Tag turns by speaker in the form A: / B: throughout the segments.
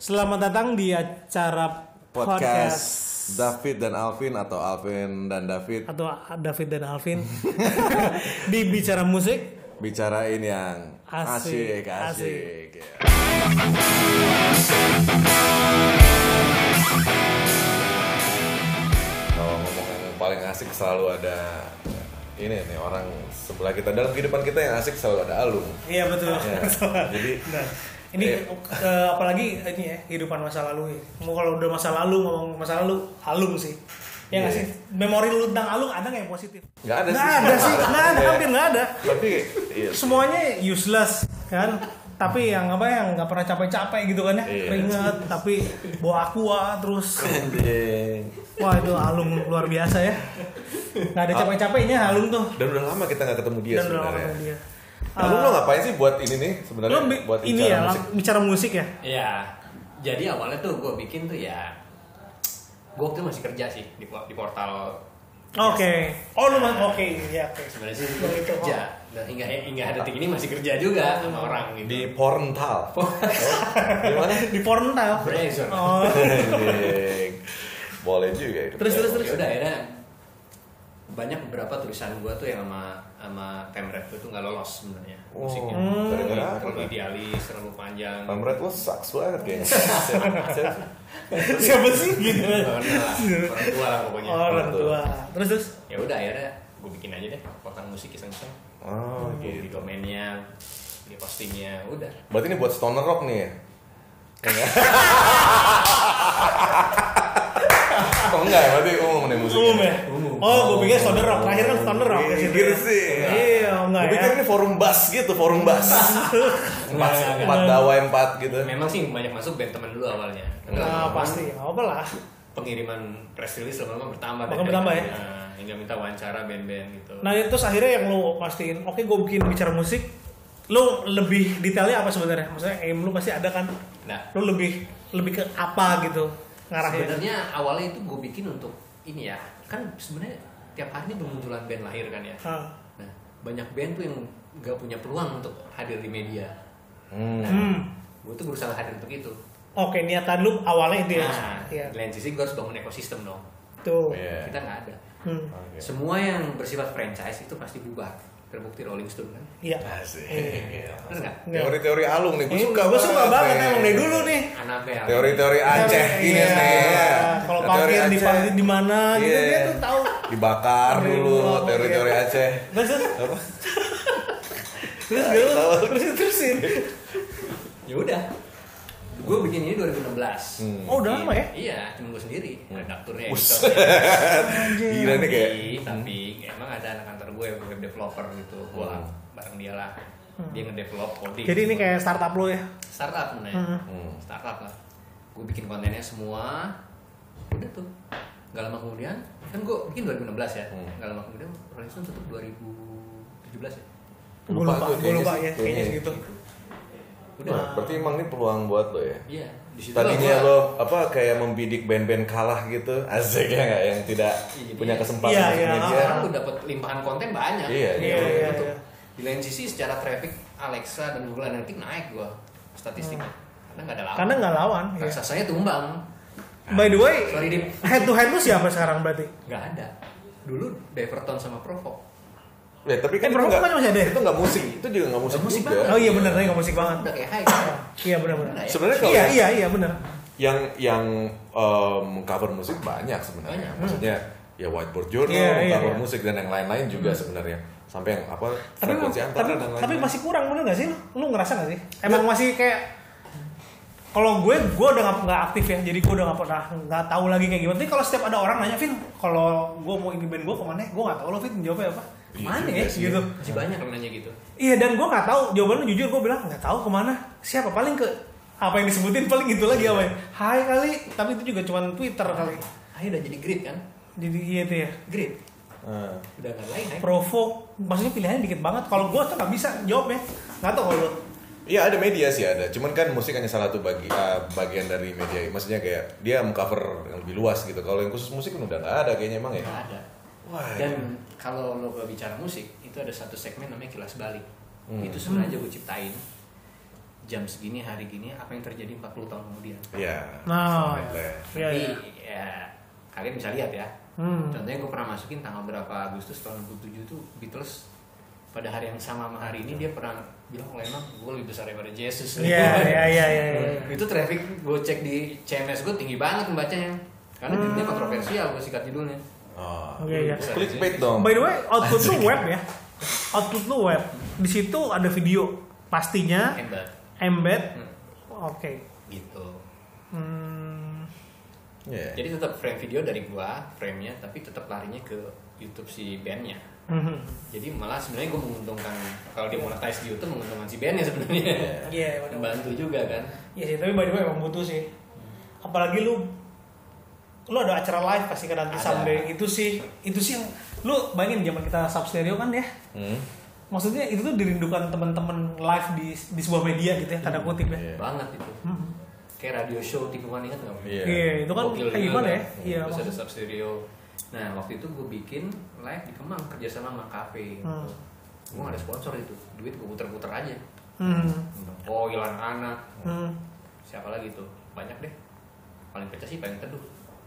A: Selamat datang di acara
B: podcast
A: podcast,
B: David dan Alvin atau Alvin dan David
A: atau David dan Alvin di bicara musik.
B: bicarain yang
A: Asik,
B: asik asik.
A: asik.
B: ya. Kalau ngomong yang paling asik selalu ada ini nih orang sebelah kita dalam kehidupan kita yang asik selalu ada Alung.
A: Iya betul.
B: Ya, jadi
A: Nah, ini
B: Eh.
A: eh, apalagi ini ya kehidupan masa lalu. Ya. Mau kalau udah masa lalu ngomong masa lalu, alum sih. Ya nggak
B: Iya.
A: sih. Memori lu tentang alum ada nggak yang positif?
B: nggak ada
A: Nggak
B: sih.
A: ada sih. Nggak ada.
B: Iya.
A: Hampir nggak ada.
B: Tapi iya.
A: Semuanya useless kan. Tapi yang apa yang nggak pernah capek-capek gitu kan ya,
B: Iya.
A: keringet. Tapi bawa aqua terus
B: Anjing.
A: Wah itu alum luar biasa ya. Nggak ada capek-capeknya alum tuh.
B: Dan udah lama kita nggak ketemu dia
A: Dan udah lama
B: Iya sebenarnya.
A: sama dia.
B: Nah, lu lo ngapain sih buat ini nih sebenarnya?
A: Lu bi-
B: buat
A: ini
B: bicara
A: ya
B: musik?
A: lang- bicara musik ya.
C: Iya. Jadi awalnya tuh gue bikin tuh ya, gue waktu itu masih kerja sih di, di portal.
B: Iya.
A: Oke. Oh lu mas- oke ya oke.
C: Sebenarnya sih
A: Yang
C: gue
A: itu,
C: kerja. Dan hingga hingga detik ini masih kerja juga
A: Hmm.
C: sama orang
B: di
C: gitu.
B: Porntal. Eh, Gimana?
A: Di portal.
C: Browser.
A: Oh.
B: Anjing. Boleh juga itu.
A: Terus, terus, terus.
C: Yaudah, Ya akhirnya banyak beberapa tulisan gue tuh yang sama sama temret gue tuh nggak lolos sebenarnya
B: Oh,
C: musiknya.
B: Hmm. gara-gara apa?
C: Terlalu idealis, terlalu panjang.
B: Pamret lo sucks banget kayaknya. Siapa sih?
A: Siapa sih gitu?
B: Iya,
A: Oh,
C: Orang tua lah, orang tua lah pokoknya.
A: Orang tua. Terus terus.
C: Ya udah akhirnya gue bikin aja deh portal musik iseng-iseng.
B: Oh,
C: di
B: gitu.
C: domainnya di postingnya udah
B: Berarti ini buat stoner rock nih ya? Iya. Enggak. oh enggak ya, berarti umum nih musik.
A: Umum ya.
C: Umum.
A: Oh, gue pikir stoner rock. Terakhir kan stoner rock.
B: Iya,
A: di situ
B: pikir
A: ya.
B: sih.
A: Iya, enggak
B: Gue
A: ya.
B: pikir ini forum bass gitu, forum bass. Empat,
C: Enggak, enggak,
B: empat dawai empat gitu.
C: memang sih banyak masuk band teman dulu awalnya
A: Nah, pasti. Enggak apa lah.
C: pengiriman press release lama-lama bertambah
A: Makin bertambah ya?
C: Nah, hingga minta wawancara band-band gitu
A: Nah terus akhirnya yang lu pastiin, oke gue bikin bicara musik, lu lebih detailnya apa sebenarnya? Maksudnya aim lu pasti ada kan?
C: nah
A: Lu lebih lebih ke apa gitu ngarahnya?
C: sebenarnya awalnya itu gue bikin untuk ini ya kan sebenarnya tiap hari ini bermunculan band lahir kan ya
A: Hah.
C: nah banyak band tuh yang gak punya peluang untuk hadir di media
B: Hmm.
A: Hmm.
C: gue tuh berusaha hadir untuk itu
A: Oke niatan lu awalnya itu ya?
C: nah
A: Iya.
C: di lain sisi gue harus bangun ekosistem dong
A: Tuh.
B: Iya.
C: kita nggak ada
A: Hmm.
B: Oke.
C: Semua yang bersifat franchise itu pasti bubar. Terbukti Rolling Stone kan?
A: Iya.
B: Asik.
C: Bener nggak?
A: Iya.
B: Teori-teori alung nih,
A: Ini
B: gue Nah, suka
A: gue suka banget
B: nih.
A: emang dari dulu nih.
C: Anabel.
B: Teori-teori Aceh ini
A: Iya.
B: nih.
A: Kalau
B: Teori
A: parkir di
B: Aceh.
A: parkir di mana gitu
B: Iya.
A: dia tuh tahu.
B: Dibakar
A: Teori
B: dulu
A: dulu,
B: teori-teori
A: iya.
B: Aceh.
A: Terus terus
B: Apa?
A: terus terus terus terusin.
C: Ya udah. Gue bikin ini 2016.
B: Hmm.
A: Oh udah lama ya? Hmm.
C: Iya, cuma gue sendiri. Redakturnya
B: Bus.
C: editornya.
B: Gila nih kayak
C: Tapi,
A: Hmm.
C: tapi emang ada anak kantor gue yang web developer gitu. Gue
B: Hmm.
C: bareng dia lah. Dia ngedevelop coding.
A: Hmm. Jadi ini kayak startup lo ya?
C: startup
A: Hmm.
C: sebenarnya.
B: Hmm.
C: Startup lah. Gue bikin kontennya semua. Udah tuh. Gak lama kemudian, kan gue bikin 2016 ya.
B: Hmm.
C: Gak lama kemudian kan Rolling Stone tutup 2017 ya.
A: Gue
B: Lupa
A: lupa,
B: gue,
A: gue lupa ya,
B: kayaknya sih, Iya.
A: kayaknya Nah.
B: kayaknya.
A: gitu.
C: Udah.
B: Wah, berarti emang ini peluang buat lo ya.
C: Iya, di situ
B: Tadinya
C: gua-
B: lo apa kayak membidik band-band kalah gitu, asik ya nggak yang tidak
C: Iya,
B: punya
C: iya.
B: kesempatan
A: Iya,
B: masuk
A: iya.
B: media.
C: sekarang udah dapat limpahan konten banyak.
B: Iya,
A: iya,
C: Gitu.
A: iya,
C: Gitu.
A: iya.
C: Di lain sisi secara traffic Alexa dan Google Analytics naik gua statistiknya. Karena nggak ada lawan.
A: Hmm. Karena nggak lawan. ya.
C: raksasanya tumbang.
A: By the way,
C: Sorry, Dim.
A: head to head lu siapa sekarang berarti?
C: Nggak ada. Dulu Diverton sama Provo.
B: Ya, tapi
A: Eh,
B: kan itu
A: Provo
B: nggak
A: kan masih ada ya?
B: itu nggak musik, itu juga nggak musik,
C: Nggak musik
B: juga.
C: banget.
A: Oh iya benar, nggak musik banget.
C: Udah kayak hai.
A: Iya benar benar.
C: Bener ya?
B: Sebenarnya kalau
A: Iya
B: yang-
A: iya iya benar.
B: yang yang em, cover musik banyak sebenarnya.
C: Banyak.
B: Maksudnya ya whiteboard journal,
A: hmm. Iya, iya,
B: cover
A: iya.
B: musik dan yang lain-lain juga sebenarnya. Sampai yang apa
A: Tapi
B: frekuensi antara
A: tapi,
B: dan lain-lain.
A: tapi masih kurang bener nggak sih? Lu ngerasa nggak sih? Emang masih kayak kalau gue, gue udah nggak- nggak aktif ya, jadi gue udah nggak pernah nggak tahu lagi kayak gimana. Tapi kalau setiap ada orang nanya, Vin, kalau gue mau ini band gue kemana? ya?" Gue nggak tahu lo Vin jawabnya apa?
B: Iya
A: Mana
B: juga
A: ya?
B: sih.
A: Gitu.
C: Masih banyak yang nanya gitu.
A: Iya dan gue nggak tahu jawaban lu jujur gue bilang nggak tahu kemana siapa paling ke apa yang disebutin paling gitu lagi apa ya Hai kali tapi itu juga cuman Twitter kali
C: Hai udah jadi grid kan?
A: jadi iya itu ya
C: Grid.
B: Eh,
C: Udah nggak lain hai.
A: provo maksudnya pilihannya dikit banget kalau gue tuh nggak bisa jawab ya nggak tahu kalau lu.
B: Iya ada media sih ada, cuman kan musik hanya salah satu bagi eh, bagian dari media. Maksudnya kayak dia mengcover yang lebih luas gitu. Kalau yang khusus musik kan udah nggak ada kayaknya emang ya.
C: Nggak ada.
B: Wah.
C: Dan kalau lo
A: Hmm.
C: bicara musik, itu ada satu segmen namanya kilas balik. Itu sebenarnya gue ciptain. jam segini hari gini apa yang terjadi 40 tahun kemudian.
B: Iya.
A: Nah,
B: Sound Headland.
A: iya,
C: Jadi
A: iya.
C: ya kalian bisa lihat ya.
A: Hmm.
C: Contohnya gue pernah masukin tanggal berapa Agustus tahun 67 tuh Beatles pada hari yang sama sama hari ini dia pernah bilang Lennon gue lebih besar daripada Jesus.
A: Iya, iya, iya, iya, iya.
C: itu traffic gue cek di CMS gue tinggi banget membacanya karena
A: Hmm.
C: judulnya kontroversial gue sikat judulnya
B: Oh.
A: Oke, iya.
B: Clickbait dong.
A: By the way, output lu web ya. Output lu web. Di situ ada video pastinya
C: hebat
A: embed.
C: Hmm.
A: Oke.
C: gitu
A: Hmm.
B: Iya.
C: jadi tetap frame video dari gua framenya tapi tetap larinya ke YouTube si bandnya
A: Mhm.
C: jadi malah sebenarnya gue menguntungkan kalau dia monetize di YouTube menguntungkan si bandnya sebenarnya
A: Iya, bener.
C: bantu juga kan
A: Iya sih, tapi by the way emang butuh sih. Apalagi lu lu ada acara live pasti kan nanti
C: Ada.
A: someday itu sih itu sih yang lu bayangin zaman kita sub stereo kan ya
B: Hmm.
A: maksudnya itu tuh dirindukan teman-teman live di di sebuah media gitu ya tanda kutip ya
B: Iya.
C: banget itu
A: Mhm.
C: kayak radio show tikungan ingat nggak
B: Iya.
A: Iya, itu kan
C: Gokil
A: kayak
C: juga
A: gimana ya?
C: kan.
A: Iya,
C: Terus ada
A: maksud-
C: sub stereo. Nah, waktu itu gue bikin live di Kemang kerjasama sama kafe.
A: Hmm.
C: Gue gak ada sponsor itu, duit gue puter-puter aja.
A: Hmm.
C: Oh, hilang anak.
A: Hmm.
C: Siapa lagi tuh? Banyak deh. Paling pecah sih paling teduh.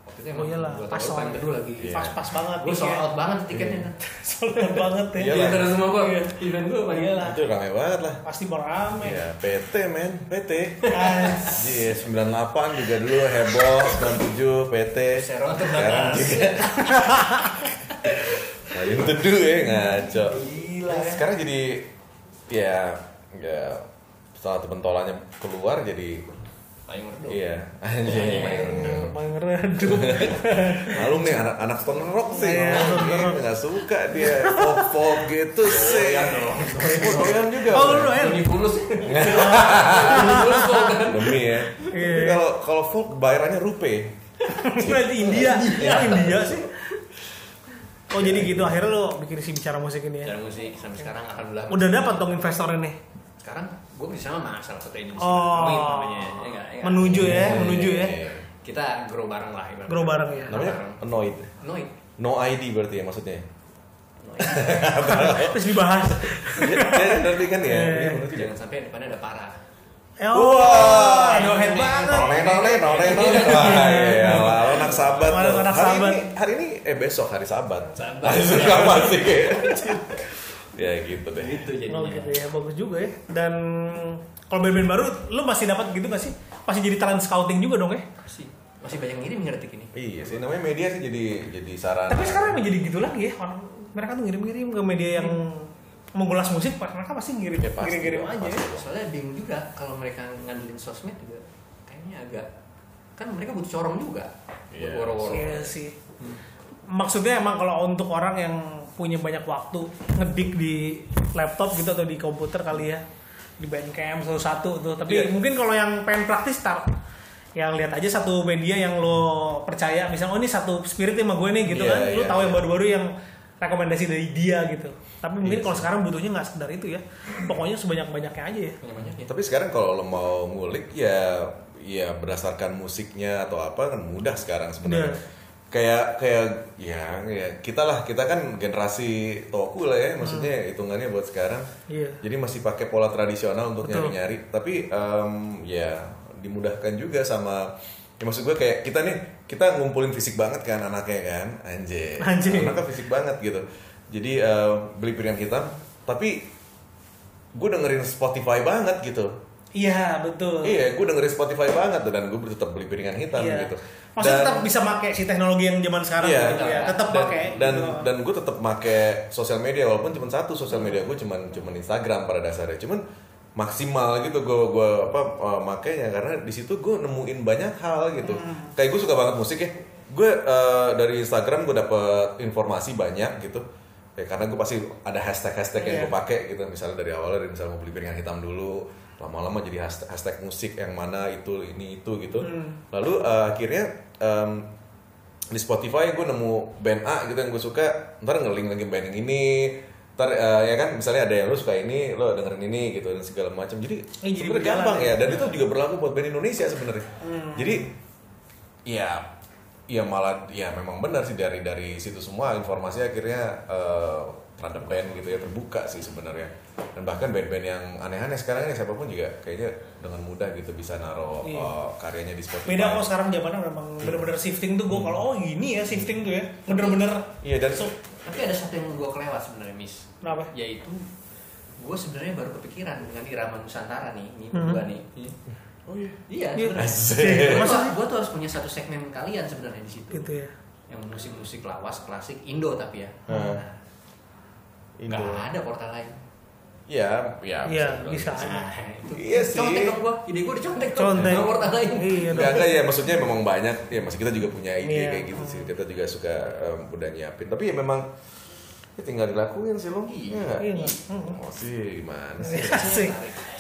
C: Waktu itu
A: Oh
C: emang
A: iyalah,
C: gua
A: pas
C: tahu paling
A: soalnya.
C: teduh lagi.
B: Iya.
A: Pas-pas banget
C: Gue sold out banget tiketnya.
B: Iya.
C: kan.
A: Sold out banget ya.
B: Iyalah.
C: Di antara semua gue, event gue paling
A: Iyalah.
B: Itu rame banget lah.
A: Pasti berame.
B: Iya, PT men, PT.
A: As-
B: Iya, 98 juga dulu heboh, 97 PT.
C: Seron
B: Sekarang
C: terbatas.
B: juga. Payung teduh ya ngaco.
A: Gila ya.
B: Sekarang jadi ya ya setelah pentolannya keluar jadi
C: Paling merdu.
B: iya anjing.
C: Iya.
A: Emang redup.
B: Malu nih anak anak Stone Rock sih.
A: Iya, Stone
B: Iya, nggak suka dia pop pop gitu sih. Oh, doyan juga.
A: Oh, lu doyan?
C: Ini kurus. Ini kurus kok kan.
B: Demi ya.
A: Iya.
B: Tapi kalau kalau folk bayarannya rupiah.
A: Berarti India.
C: Iya.
A: Ya India sih. Oh jadi gitu akhirnya lo bikin si bicara musik ini ya.
C: Dan musik sampai sekarang alhamdulillah.
A: Udah dapat dong investornya nih.
C: sekarang gue bersama sama salah satu agensi
A: Oh.
C: Win namanya ya nggak, ya nggak? iya.
A: Menuju ya,
B: Iya,
A: menuju ya.
C: kita grow bareng lah ibaratnya.
A: Grow bareng ya.
B: Namanya annoyed.
C: Noid
B: No ID berarti ya maksudnya.
C: Noid.
A: ya. Terus dibahas.
B: Dia dia ngerti kan ya.
A: Iya.
C: jangan sampai depannya ada parah
A: Eh, Oh,
B: Wah,
A: aduh head banget.
B: Noleh noleh noleh noleh. Wah, iya, lah, lo anak sabat.
A: Malah
B: lo.
A: anak
B: hari
A: sabat.
B: ini hari ini eh besok hari sabat.
C: Sabat.
B: Hari sabat sih. Ya gitu deh.
C: itu
A: Oh
C: jadinya
A: gitu ya, bagus juga ya. Dan kalau band-band baru, lo masih dapat gitu gak sih? Masih jadi talent scouting juga dong ya?
C: masih masih banyak ngirim ngerti ini
B: Iya sih namanya media sih jadi jadi sarana.
A: Tapi sekarang emang jadi gitu lagi ya. Orang mereka tuh ngirim-ngirim ke media yang menggulas musik, mereka pasti ngirim,
B: Hmm. Ya, pasti,
A: ngirim-ngirim aja
B: pasti.
A: ya.
C: soalnya bingung juga kalau mereka ngandelin sosmed juga kayaknya agak kan mereka butuh corong juga buat
B: Iya.
C: woro-woro
A: Iya sih. Maksudnya emang kalau untuk orang yang punya banyak waktu ngedik di laptop gitu atau di komputer kali ya di Bandcamp satu-satu tuh. Tapi
B: Iya.
A: mungkin kalau yang pengen praktis tar yang lihat aja satu media yang lo percaya misalnya oh ini satu spirit sama gue nih gitu
B: Iya,
A: kan lo
B: iya,
A: tahu yang
B: iya.
A: baru-baru yang rekomendasi dari dia gitu tapi mungkin
B: Iya
A: kalau
B: sih.
A: sekarang butuhnya nggak sekedar itu ya pokoknya sebanyak-banyaknya aja ya
C: banyak ya
B: Tapi sekarang kalau lo mau ngulik ya ya berdasarkan musiknya atau apa kan mudah sekarang sebenarnya.
A: Iya.
B: Kayak kayak ya, ya kita lah kita kan generasi toku lah ya maksudnya hitungannya buat sekarang.
A: Iya.
B: Jadi masih pakai pola tradisional untuk
A: Betul.
B: nyari-nyari. Tapi em, ya dimudahkan juga sama Ya maksud gue kayak kita nih, kita ngumpulin fisik banget kan anaknya kan, anjir.
A: Anjing.
B: Anaknya fisik banget gitu. Jadi em, beli piringan hitam, tapi gue dengerin Spotify banget gitu.
A: iya betul
B: Iya, gue dengerin Spotify banget tuh, dan gue tetap beli piringan hitam
A: Iya.
B: gitu.
A: Maksudnya
B: Dan-
A: tetap bisa pakai si teknologi yang zaman sekarang
B: Iya.
A: gitu ya. Tetap
B: dan,
A: pakai.
B: dan
A: gitu.
B: dan gue tetap make sosial media walaupun cuma satu sosial media gue cuman cuman Instagram pada dasarnya. Cuman maksimal gitu gue gue apa uh, makainya karena di situ gue nemuin banyak hal gitu.
A: Hmm.
B: Kayak gue suka banget musik ya. Gue uh, dari Instagram gue dapet informasi banyak gitu. Ya, karena gue pasti ada hashtag-hashtag yang
A: Iya.
B: gue pakai gitu misalnya dari awal dari misalnya mau beli piringan hitam dulu lama-lama jadi hashtag, hashtag musik yang mana itu ini itu gitu
A: Hmm.
B: lalu uh, akhirnya um, di Spotify gue nemu band A gitu yang gue suka ntar ngeling lagi band yang ini ntar eh, ya kan misalnya ada yang lo suka ini lo dengerin ini gitu dan segala macam jadi
A: Eh, jadi
B: sebenarnya
A: berjalan
B: gampang
A: ya. Hmm.
B: ya dan itu juga berlaku buat band Indonesia sebenarnya jadi ya ya malah ya memang benar sih dari dari situ semua informasi akhirnya eh, terhadap band gitu ya terbuka sih sebenarnya dan bahkan band-band yang aneh-aneh sekarang ini siapapun juga kayaknya dengan mudah gitu bisa naro
A: Iya.
B: uh, karyanya di Spotify
A: beda kok sekarang zamannya memang bener-bener shifting tuh gue
B: Hmm.
A: kalau oh gini ya shifting tuh ya bener-bener
B: iya dan
A: so,
C: tapi ada satu yang gue kelewat sebenarnya miss
A: kenapa
C: yaitu gue sebenarnya baru kepikiran dengan irama nusantara nih ini
A: Hmm.
C: berdua nih
B: oh iya
C: iya
A: Iya.
B: Asik.
C: masa gue tuh harus punya satu segmen kalian sebenarnya di situ
A: gitu ya
C: yang musik-musik lawas klasik Indo tapi ya
B: Hmm.
C: Nah,
B: Indo.
C: nggak ada portal lain
B: Iya, iya.
A: Iya, bisa.
C: Nah, itu
B: Iya sih.
C: contek dong gua ide gua dicontek dong
A: Contek.
C: sama portal lain
A: iya
B: Enggak
A: dong.
B: enggak ya maksudnya memang banyak ya masih kita juga punya
A: Iya.
B: ide kayak gitu sih. Kita juga suka em, udah nyiapin. Tapi ya memang ya tinggal dilakuin sih lo.
C: Iya.
B: nggak?
A: Iya, nggak? Mm-mm.
B: Oh sih gimana sih?
A: Asik.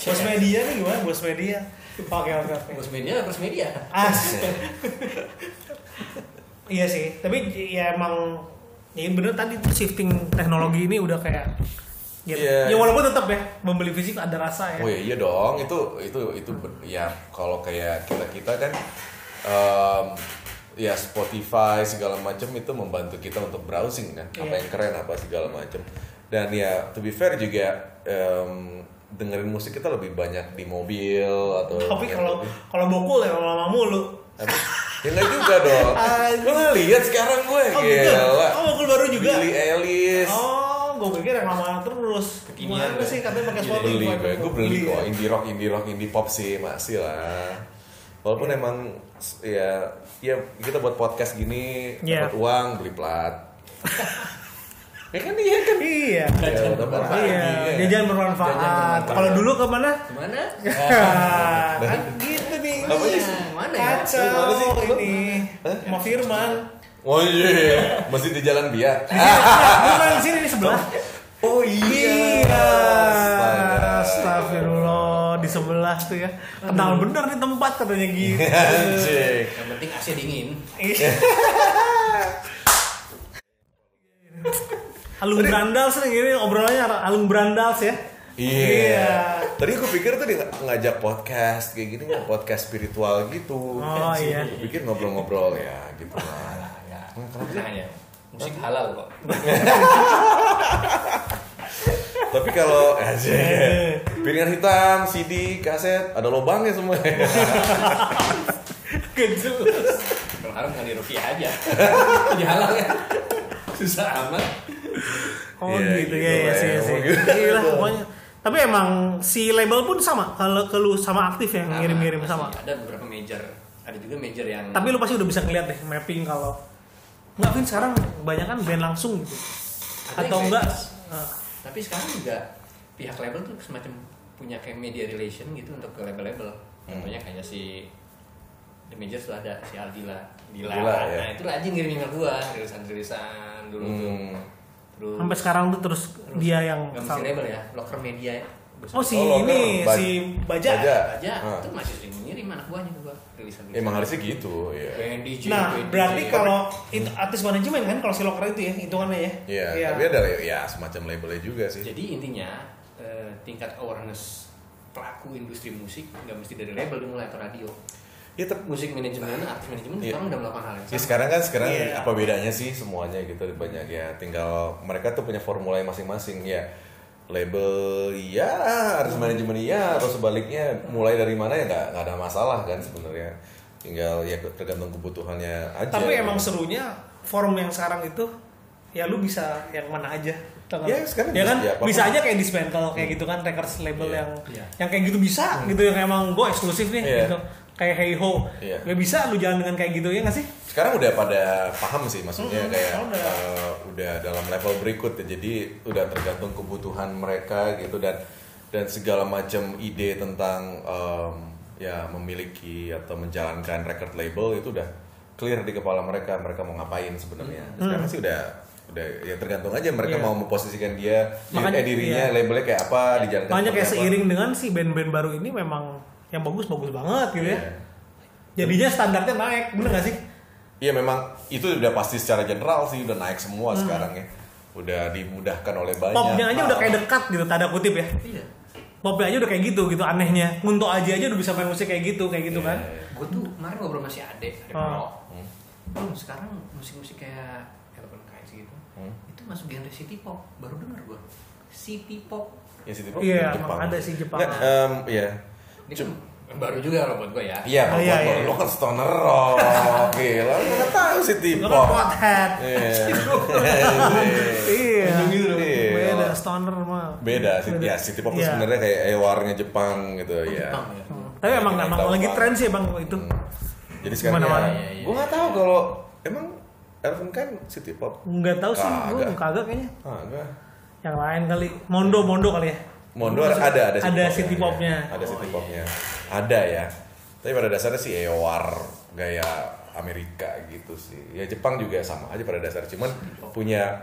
A: Bos media nih gimana? Bos media. Oke oke oke.
C: Bos media, bos media.
A: Asik. iya sih, tapi ya emang ya bener tadi tuh shifting teknologi ini udah kayak gitu.
B: Iya.
A: Ya walaupun tetap ya membeli fisik ada rasa ya.
B: Oh ya iya dong, itu itu itu ben- ya kalau kayak kita kita kan em, ya Spotify segala macam itu membantu kita untuk browsing kan, apa
A: Iya.
B: yang keren apa segala macam. Dan ya to be fair juga em, dengerin musik kita lebih banyak di mobil atau
A: Oh, Tapi kalau
B: Iya.
A: kalau bokul ya lama mulu.
B: Apa? ya nggak juga dong. Lu nggak lihat sekarang gue
A: Oh gitu.
B: gila.
A: Oh bokul baru juga.
B: Billy Ellis.
A: Oh, gue pikir yang lama terus.
C: Kekinian
A: Gimana sih katanya pakai Spotify?
B: beli gue, gue beli
A: ya.
B: kok indie rock, indie rock, indie pop sih masih lah. Walaupun
A: Iya.
B: emang s- ya ya kita buat podcast gini
A: Iya.
B: dapat uang beli plat. ya kan iya kan.
A: Iya.
B: Ya,
C: Jajan
B: udah
C: bermanfaat.
B: bermanfaat.
A: Iya,
B: Iya.
A: jajan
C: Jajan
A: bermanfaat.
C: bermanfaat.
A: Kalau dulu kemana?
C: Gimana?
A: Hah, kan gitu nih.
B: Ah. Apa sih?
C: Mana ya?
A: Kacau
B: Mana sih?
A: ini. Mau Firman. Iya.
B: Oh iya, masih di jalan biak.
A: Bukan di sini di sebelah.
B: Oh
A: Iya.
B: Astaga.
A: Astagfirullah di sebelah tuh ya. Kenal bener nih tempat katanya gitu.
B: Anjing.
C: Yang penting AC dingin.
A: Iya. Alung Brandals nih ini obrolannya Alung Brandals ya.
B: Iya. Tadi gue pikir tuh dia ng- ngajak podcast kayak gini nggak podcast spiritual gitu.
A: Oh, iya.
B: Gue pikir ngobrol-ngobrol ya gitu lah.
C: Ya, tenang aja. Musik halal kok.
B: Tapi kalau aja piringan hitam, CD, kaset, ada lubangnya semua.
A: Iya. Kejelas.
C: Kalau haram nggak di rupiah aja. Jadi halal ya. Susah amat.
A: Oh
B: Iya,
A: gitu,
B: gitu
A: ya ya
B: lah
A: sih
B: ya,
A: sih.
B: gitu.
A: Gila pokoknya. Tapi emang si label pun sama kalau ke lu sama aktif ya ngirim-ngirim
C: Nah,
A: sama.
C: masih Ada beberapa major. Ada juga major yang
A: Tapi lu pasti udah bisa ngeliat deh mapping kalau nggak Vin sekarang banyak kan band langsung gitu.
C: Ada
A: Atau
C: yang kayak
A: enggak? eh,
C: gitu. Tapi sekarang juga pihak label tuh semacam punya kayak media relation gitu untuk ke label-label. Contohnya kayak si The Majors lah ada si Aldila. Dila.
B: Aldila, ya.
C: Nah, itu rajin ngirim email gua, rilisan-rilisan dulu tuh.
B: Hmm.
C: Terus
A: Sampai sekarang tuh terus dia yang
C: nggak mesti label ya, locker media ya.
A: Oh si
B: Oh, Locker,
A: ini
B: Baj-
A: si Baja.
B: Baja.
C: aja
B: Ah.
C: itu masih sering ngirim anak buahnya ke gua rilisan-rilisan.
B: Emang harusnya gitu, ya.
C: Band DJ,
A: Nah,
C: band
A: berarti
C: DJ.
A: kalau itu artis manajemen kan kalau si Locker itu ya hitungannya ya.
B: Iya, tapi ada ya semacam labelnya juga sih.
C: Jadi intinya eh, tingkat awareness pelaku industri musik nggak mesti dari label dimulai atau radio. Kan
B: Ya, tapi
C: Musik manajemen, artis manajemen
B: Iya.
C: sekarang udah melakukan hal yang
B: Ya
C: sama.
B: sekarang kan sekarang
A: Iya.
B: apa bedanya sih semuanya gitu banyak ya tinggal mereka tuh punya formula yang masing-masing ya label ya harus manajemen ya atau sebaliknya mulai dari mana ya nggak nggak ada masalah kan sebenarnya tinggal ya tergantung kebutuhannya aja.
A: Tapi emang serunya forum yang sekarang itu ya lu bisa yang mana aja. Tau nggak?
B: Ya, sekarang
A: ya
B: bisa-
A: kan
B: ya, apapun.
A: bisa aja kayak dismantle kayak gitu kan records label
B: Iya. Hmm.
A: yang
C: Iya.
A: yang kayak gitu bisa gitu yang emang gue eksklusif nih
B: Iya.
A: gitu. Kayak hey ho.
B: Iya.
A: Ya bisa lu jalan dengan kayak gitu ya nggak sih?
B: sekarang udah pada paham sih maksudnya
A: Mm-mm,
B: kayak
A: Hmm, udah.
B: eh, udah dalam level berikut ya jadi udah tergantung kebutuhan mereka gitu dan dan segala macam ide tentang em, ya memiliki atau menjalankan record label itu udah clear di kepala mereka mereka mau ngapain sebenarnya sekarang sih udah udah ya tergantung aja mereka
A: Hmm. Iya.
B: mau memposisikan dia
A: Makanya-
B: eh, dirinya
A: iya.
B: labelnya kayak apa dijalankan
A: Makanya kayak
B: seperti apa.
A: seiring dengan si band-band baru ini memang yang bagus bagus banget gitu
B: Iya.
A: ya. Jadinya standarnya naik, bener gak sih?
B: Iya memang itu udah pasti secara general sih udah naik semua sekarang ya. Udah dimudahkan oleh banyak.
A: Hmm. Popnya aja
B: hal.
A: udah kayak dekat gitu, tanda kutip ya.
C: Iya.
A: Popnya aja udah kayak gitu gitu anehnya. Munto aja aja udah bisa main musik kayak gitu, kayak gitu
B: Iya.
A: kan.
C: Gue iya, tuh kemarin ngobrol sama si Ade, Ade
A: Ah.
C: Pro.
B: Hmm?
C: Bang, sekarang musik-musik kayak Electronic Eyes gitu.
B: Hmm.
C: Itu masuk genre city pop, baru denger gue. city pop
B: Ya sih
A: Iya, emang ada sih Jepang.
B: Nggak, em, iya.
C: ini kan baru juga robot gue ya
B: Iya,
A: Oh, iya,
B: iya,
A: iya,
B: lo kan stoner rock. Gila, lo nggak tahu sih Iya.
A: Lu
B: tipe.
A: kan pothead.
B: Iya.
A: Iya.
B: Iya.
A: Beda stoner mah.
B: Beda sih, ya sih tipe
A: Iya. Oh,
B: sebenarnya kayak eh, warnanya Jepang gitu ya.
C: Jepang ya
A: Tapi emang
B: Kita
A: emang
B: tahu Hmm.
A: lagi
B: banget.
A: tren sih bang itu.
B: Jadi sekarang
A: Mana-mana.
B: ya, gue nggak
A: iya.
B: tahu kalau emang Elvin kan city pop.
A: Nggak tahu sih, gue
B: Kagak.
A: kagak kayaknya.
B: Ah, enggak.
A: Yang lain kali, Mondo Mondo kali ya.
B: Mondo ada ada
A: Ada
B: popnya,
A: city popnya. Oh,
B: iya. Ada city popnya. Ada ya. Tapi pada dasarnya sih EOR gaya Amerika gitu sih. Ya Jepang juga sama aja pada dasarnya. Cuman punya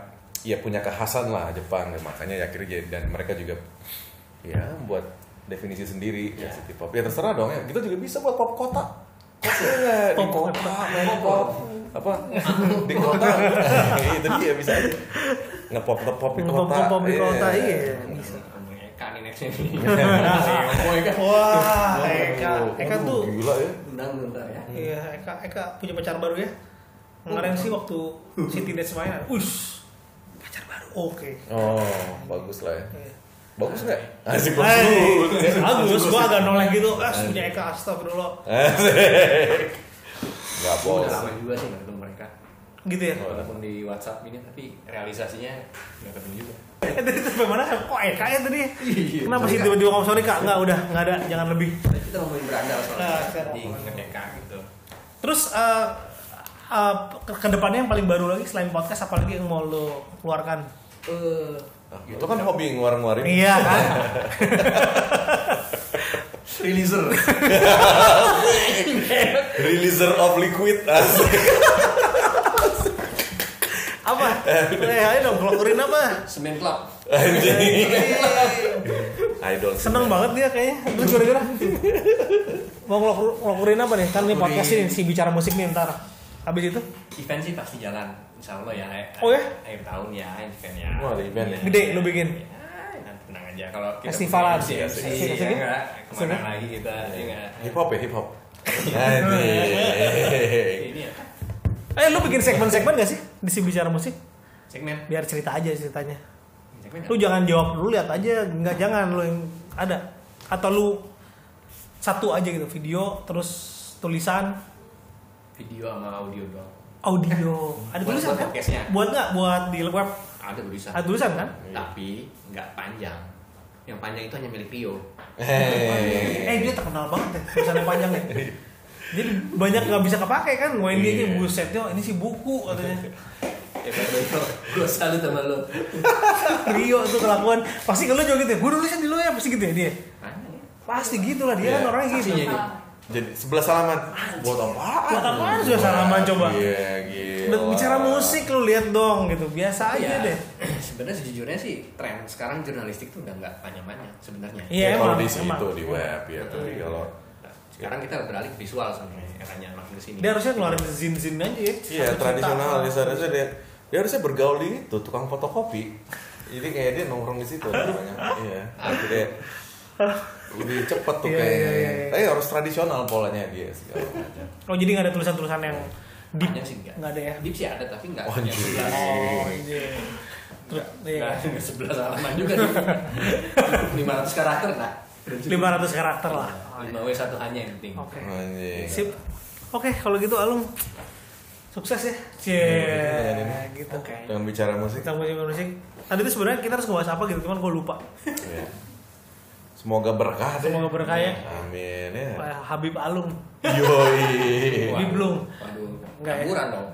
B: ya punya kekhasan lah Jepang makanya ya akhirnya jadi dan mereka juga ya buat definisi sendiri
A: Iya.
B: ya city pop. Ya terserah dong ya. Kita juga bisa buat pop kota. Iya, di
A: Pop
B: kota, main pop apa di kota itu dia bisa aja ngepop ngepop di kota
A: Ngepop-ngepop di kota, iya.
C: bisa Eka nih next ini Iya.
B: Oh, Eka.
A: Wah, Eka, Eka
B: Waduh,
A: tuh,
B: gila ya.
C: kan undang bentar ya
A: iya Eka Eka punya pacar baru ya. Kemarin sih waktu City Days main, us pacar baru, oke.
B: Oh, bagus lah ya.
A: Iya.
B: Bagus nggak? Asik
A: Hey,
B: bagus.
A: Eh, bagus, gua agak noleh gitu, ah punya Eka astagfirullah,
B: Nggak
C: Gua
B: bos. Iya.
C: udah lama juga sih nggak ketemu mereka
A: gitu ya.
C: walaupun di WhatsApp ini tapi realisasinya nggak ketemu juga
A: Eh, Tadi sampai mana? Kok Eka ya tadi?
C: Iya.
A: Kenapa sih tiba-tiba ngomong sorry kak? Enggak, udah nggak ada, jangan lebih.
C: Tadi kita ngomongin berandal
A: Nah,
C: soalnya
A: sekarang.
C: di ngedeka gitu
A: Terus eh eh, ke kedepannya yang paling baru lagi selain podcast, apa lagi yang mau lo keluarkan?
C: eh
B: Itu kan hobi ngeluarin-ngeluarin.
A: Iya kan?
C: releaser
B: Releaser of liquid. Asik.
A: apa? Eh, ayo dong, keluarin apa?
C: semen club
B: Anjing. Iya. Idol.
A: Iya. Seneng banget dia kayaknya. Lu gara-gara mau ngelok- ngeluarin apa nih? Kan nih podcast ini si bicara musik nih ntar. Habis itu
C: event sih pasti jalan insya Allah ya
A: Oh ya?
C: akhir tahun ya event ya
B: Wah, ada event ya?
A: Gede lu bikin?
C: Ya, nanti tenang aja kalau kita
A: Festivalan.
C: punya MC,
A: Asik, asik,
C: ya
A: asik.
C: enggak kemana
A: Asik.
C: lagi kita ya enggak
A: Gitu.
B: Hip hop ya, hip hop. Anjing.
C: ini ya
A: Eh lu bikin segmen-segmen gak sih di si bicara musik?
C: segmen
A: Biar cerita aja ceritanya.
C: segmen
A: Lu jangan jawab dulu lihat aja, nggak jangan lu yang ada. Atau lu satu aja gitu video terus tulisan
C: video sama audio doang
A: audio ada
C: Buat-
A: tulisan
C: buat
A: kan
C: podcastnya.
A: buat nggak buat di web
C: ada tulisan
A: ada tulisan kan
C: tapi nggak panjang yang panjang itu hanya milik Rio
A: eh dia terkenal banget ya tulisannya panjang ya jadi banyak nggak bisa kepake kan main dia ini
B: Iya.
A: busetnya ini si buku katanya
C: ya Rio gue salut sama lo
A: Rio tuh kelakuan pasti kalau juga gitu ya gue tulisan di lu ya pasti gitu ya dia
C: Panjang ya?
A: pasti gitu lah dia
B: Iya.
A: kan orangnya gitu
C: Saksinya dia.
B: Jadi sebelah salaman. Buat apaan?
A: Buat apaan sudah salaman, coba?
B: Iya, gila.
A: bicara musik lu lihat dong gitu biasa aja
C: Ya,
A: deh
C: sebenarnya sejujurnya sih tren sekarang jurnalistik tuh udah nggak panjang-panjang sebenarnya
A: Iya,
B: Ya, kalau
A: emang,
B: di
A: emang. Iya.
B: situ di web ya tapi kalau
C: Nah, sekarang kita beralih ke visual sebenarnya eranya makin kesini
A: dia harusnya ngeluarin zin-zin aja ya
B: Iya
A: Satu juta.
C: ya,
B: tradisional dia harusnya dia, dia harusnya bergaul di itu tukang fotokopi. Jadi kayak dia nongkrong di situ namanya. Iya. Jadi dia lebih cepet tuh
A: Iya,
B: kayak.
A: iya, iya, iya.
B: Tapi harus tradisional polanya dia segala macam.
A: oh jadi nggak ada tulisan-tulisan yang deep
C: Panjang sih nggak. Iya.
A: nggak ada ya
C: Deep sih ada tapi nggak
B: Oh,
C: yang
B: anjir.
C: sebelas.
A: oh iya Terus, iya.
C: Nggak- nggak sebelas halaman juga nih. 500 karakter nah
A: 500 karakter lah.
C: 5 W satu hanya yang penting
A: Oke.
C: Iya.
B: Anjing.
A: Sip. Oke, kalau gitu Alung sukses ya. Cie,
C: Iya,
A: gitu.
C: Oke.
B: Dengan bicara musik.
A: Kita musik musik. Tadi itu sebenarnya kita harus ngebahas apa gitu, cuman gue lupa.
B: Iya. Semoga berkah deh.
A: Semoga berkah ya.
B: Amin ya.
C: Iya.
A: Eh, Habib Alung.
B: Yoi.
A: Ini belum.
C: waduh
A: Nggak ya?
C: campuran dong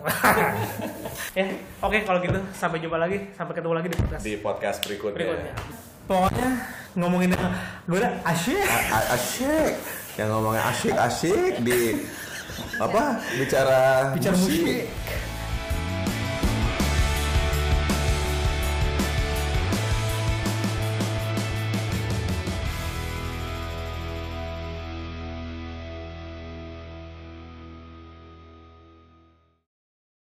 A: Ya, oke kalau gitu sampai jumpa lagi, sampai ketemu lagi di podcast
B: Di podcast berikutnya.
A: berikutnya. Pokoknya ngomongin yang gue udah asyik.
B: A- a- asyik yang ngomongnya asyik asyik di apa bicara
A: Bicara musik.